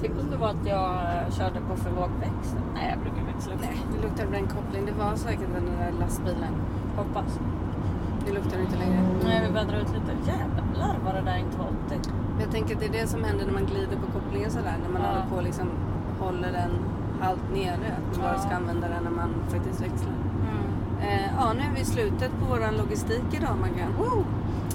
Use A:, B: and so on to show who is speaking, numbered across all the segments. A: Typ
B: tyckte om det var att jag eh, körde på för låg växel. Nej, jag brukar växla upp.
A: Nej, det luktar brännkoppling. Det var säkert den där lastbilen.
B: Hoppas.
A: Det luktar inte längre.
B: Nej, vi vädrar ut lite. Jävlar vad det där inte var 80.
A: Men Jag tänker att det är det som händer när man glider på kopplingen sådär. När man
B: Ja.
A: håller på och liksom håller den halvt nere. Att man bara
B: Ja.
A: ska använda den när man faktiskt växlar. Eh, ja, nu är vi i slutet på våran logistik idag Maggan. Woo!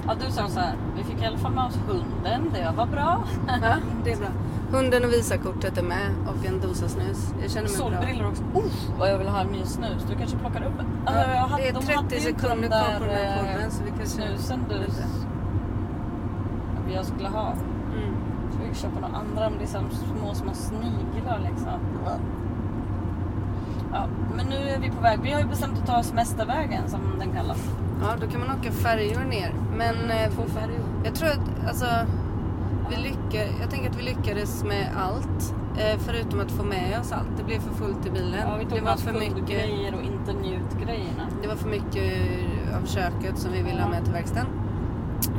B: Ja, du sa så här. Vi fick i alla fall med oss hunden. Det var bra.
A: Ja, det är bra. Hunden och visakortet är med och en dosa snus. Jag känner mig bra.
B: Solbrillor också. Oh, vad jag vill ha en ny snus. Du kanske plockar upp en. Alltså, jag hade-
A: det är
B: de
A: 30
B: hade ju inte
A: sekunder kvar på den här
B: där, eh,
A: podden, så vi kanske-
B: Snusen du...
A: Lite.
B: Jag skulle ha.
A: Mm.
B: Så vi köpa några andra, men det är så här små, små sniglar liksom. Ja, men nu är vi på väg. Vi har ju bestämt att ta semestervägen som den kallas.
A: Ja, då kan man åka färjor ner. Men eh,
B: Två färjor.
A: jag tror att alltså, vi lyckades, jag tänker att vi lyckades med allt. Eh, förutom att få med oss allt. Det blev för fullt i bilen.
B: Ja, vi tog
A: det
B: det
A: var för mycket.
B: grejer och inte njutgrejerna.
A: Det var för mycket av köket som vi ville ha med till verkstaden.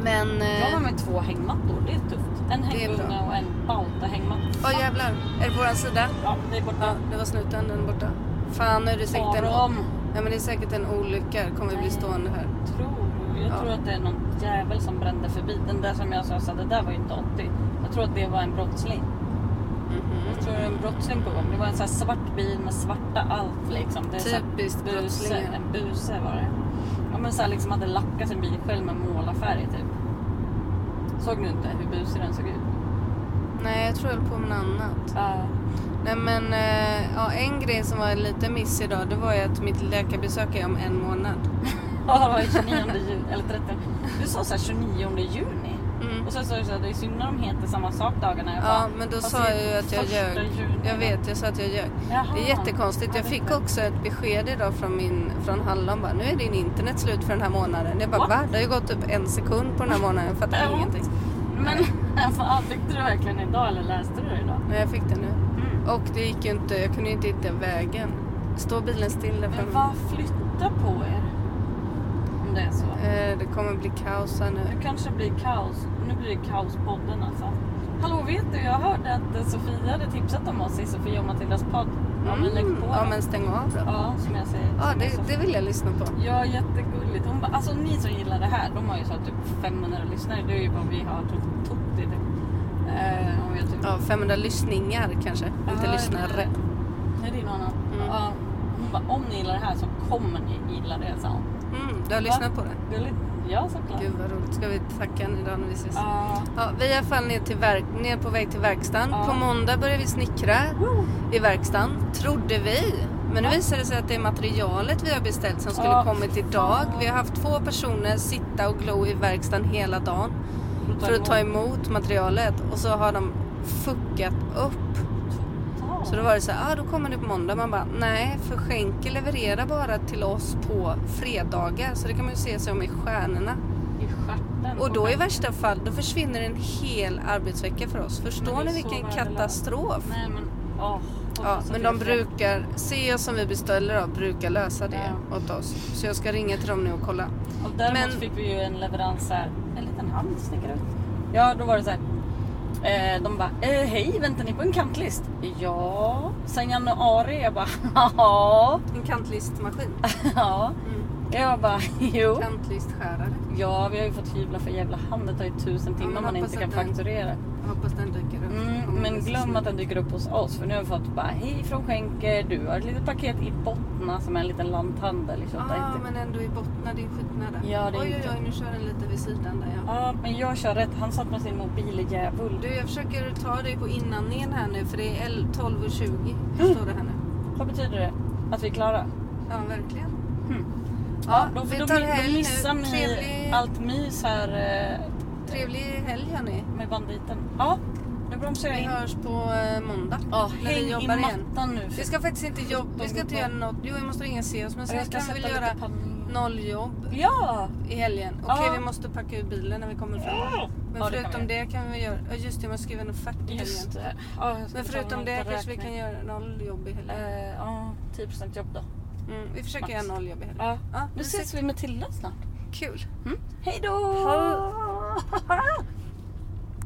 A: Men...
B: Jag var
A: Eh,
B: med två hängmattor, det är tufft. En
A: Det är bra.
B: hängunge och en baltahängmatta.
A: Åh jävlar, är det på våran sida?
B: Ja, det är
A: Ja,
B: borta.
A: det var snuten, den är borta. Fan, nu är det säkert en...
B: Aron.
A: Ja, men det är säkert en olycka. Kommer vi bli
B: Nej.
A: stående här?
B: Tror, jag
A: Ja.
B: tror att det är någon jävel som brände förbi. Den där som jag sa, så här, det där var ju inte 80. Jag tror att det var en brottsling.
A: Mhm.
B: Jag tror det var en brottsling på gång. Det var en sån här svart bil med svarta allt liksom. Det är så här
A: Typiskt
B: buse,
A: Typ brottslingar.
B: En buse var det. Ja men så här liksom hade lackat sin bil själv med målarfärg typ. Såg du inte hur busig den såg ut?
A: Nej, jag tror jag höll på med något annat.
B: Ja.
A: Nej, men eh, ja, en grej som var en liten miss idag, det var ju att mitt läkarbesök är om en månad.
B: Ja, det var ju 29 juni, eller 30. Du sa såhär 29 juni.
A: Mm.
B: Och sen sa du såhär, det är synd när de heter samma sak dagarna. Jag
A: Ja,
B: bara,
A: men då
B: fast
A: sa
B: det är
A: jag ju att jag
B: första
A: ljög.
B: juni.
A: Jag vet, jag sa att jag ljög.
B: Jaha.
A: Det är jättekonstigt. Jag fick också ett besked idag från, min, från Hallon. Bara, nu är din internet slut för den här månaden. Jag bara,
B: What?
A: va? Det har ju gått upp en sekund på den här månaden. Jag
B: Det
A: fattar
B: var-
A: ingenting.
B: Men fan, fick du det verkligen idag eller läste du det idag?
A: Men jag fick det nu.
B: Mm.
A: Och det gick ju inte. Jag kunde ju inte hitta vägen. Står bilen still där
B: Men
A: framme?
B: vad flytta på er? Om det är så.
A: Eh, det kommer bli kaos här nu.
B: Det kanske blir kaos. Nu blir det kaospodden alltså. Hallå, vet du? Jag hörde att eh, Sofia hade tipsat om oss i Sofia och Matildas podd. Ja, men lägg på.
A: Mm, ja,
B: då.
A: men stäng av då. Ja,
B: ja som jag säger. som jag sa.
A: det, det vill jag lyssna på.
B: Ja, jättegulligt. Hon bara, alltså ni som gillar det här, de har ju så här typ 500 lyssnare. Det är ju vad vi har typ tott i det. Eh, om jag typ...
A: Ja, 500 lyssningar kanske. Inte
B: Ah, Ja,
A: lyssnare.
B: Nej, det är någon annan.
A: Mm.
B: Ja, hon bara, om ni gillar det här så kommer ni gilla det, sa hon.
A: Mm, du har lyssnat på det?
B: Gulligt. Ja, såklart.
A: Gud vad roligt. Ska vi tacka henne idag när vi ses?
B: Ja.
A: Ja, vi är i alla fall ner, till verk- ner på väg till verkstaden.
B: Ja.
A: På måndag börjar vi snickra i verkstaden, trodde vi. Men nu
B: Ja.
A: visar det sig att det är materialet vi har beställt som skulle
B: Ja.
A: kommit idag. Vi har haft två personer sitta och glo i verkstaden hela dagen för att ta emot materialet och så har de fuckat upp.
B: Totalt.
A: Så då var det så här, ah, då kommer det på måndag. Man bara, nej, för Schenker levererar bara till oss på fredagar. Så det kan man ju se sig om i stjärnorna.
B: I stjärten.
A: Och då
B: på
A: i värsta fall, då försvinner en hel arbetsvecka för oss. Förstår
B: Men det
A: ni
B: är så
A: vilken
B: värdelöst.
A: katastrof?
B: Nej men, åh.
A: Ja,
B: hoppas att
A: men
B: det
A: de
B: är fred.
A: brukar, CEO som vi beställer av brukar lösa det åt oss. Så jag ska ringa till dem nu och kolla.
B: Och däremot
A: men-
B: fick vi ju en leverans här. En liten hand sticker ut. Ja, då var det så här. Eh, de bara, eh, hej väntar ni på en kantlist? Ja, sen januari. Jag bara, ja.
A: En kantlistmaskin.
B: Ah. ja.
A: Mm.
B: Jag bara, jo.
A: Kantlistskärare.
B: Ja, vi har ju fått hyvla för jävla hand. Det tar ju tusen timmar
A: men
B: man
A: hoppas
B: inte kan
A: att den-
B: fakturera.
A: Jag hoppas den dyker upp.
B: Mm,
A: om
B: men
A: det är så
B: glöm
A: snyggt.
B: att den dyker upp hos oss. För nu har vi fått bara, hej från Schenker. Du har ett litet paket i Bottna som är en liten lanthandel i
A: Ja,
B: 2890.
A: Ah, men ändå i bottnar, det är skitnära.
B: Ja, det är
A: oj, oj,
B: inte-
A: oj, nu kör den lite vid sidan där ja.
B: Ja, men jag kör rätt. Han satt med sin mobil i djävul.
A: Du, jag försöker ta dig på inandningen här nu för det är
B: Mm.
A: 12.20. Står det här nu.
B: Vad betyder det? Att vi är klara?
A: Ja, verkligen.
B: Hmm.
A: Ja,
B: Då,
A: vi
B: då,
A: tar
B: mi-
A: helg
B: då
A: nu.
B: missar ni
A: Trevlig,
B: allt mys här eh,
A: trevlig helg hörni.
B: med banditen. Ja, nu bromsar
A: Vi
B: jag in.
A: hörs på eh, måndag.
B: Ja,
A: när vi
B: häng i
A: jobbar igen.
B: mattan nu.
A: Vi ska faktiskt inte jobba. Vi ska inte göra något. Jo, vi måste ringa Seos. Men
B: Ja,
A: sen
B: jag ska
A: kan
B: sätta
A: vi väl
B: lite
A: göra
B: panik.
A: nolljobb
B: Ja!
A: i helgen. Okej,
B: Ja.
A: vi måste packa ur bilen när vi kommer fram. Men
B: Ja, det kan
A: förutom
B: vi
A: det kan vi göra... Ja, just det, jag måste skriva en offert i helgen.
B: Just det. Ja, jag ska betala
A: Men förutom
B: någon
A: det
B: liten
A: kanske vi kan
B: räkning.
A: göra nolljobb i helgen.
B: Eh, Ja, 10% jobb då.
A: Mm, vi försöker
B: max.
A: göra nolljobb i helgen.
B: Ja.
A: Ja,
B: Nu ses vi med Tilda snart.
A: Kul.
B: Mm. Hej då!
A: Ha-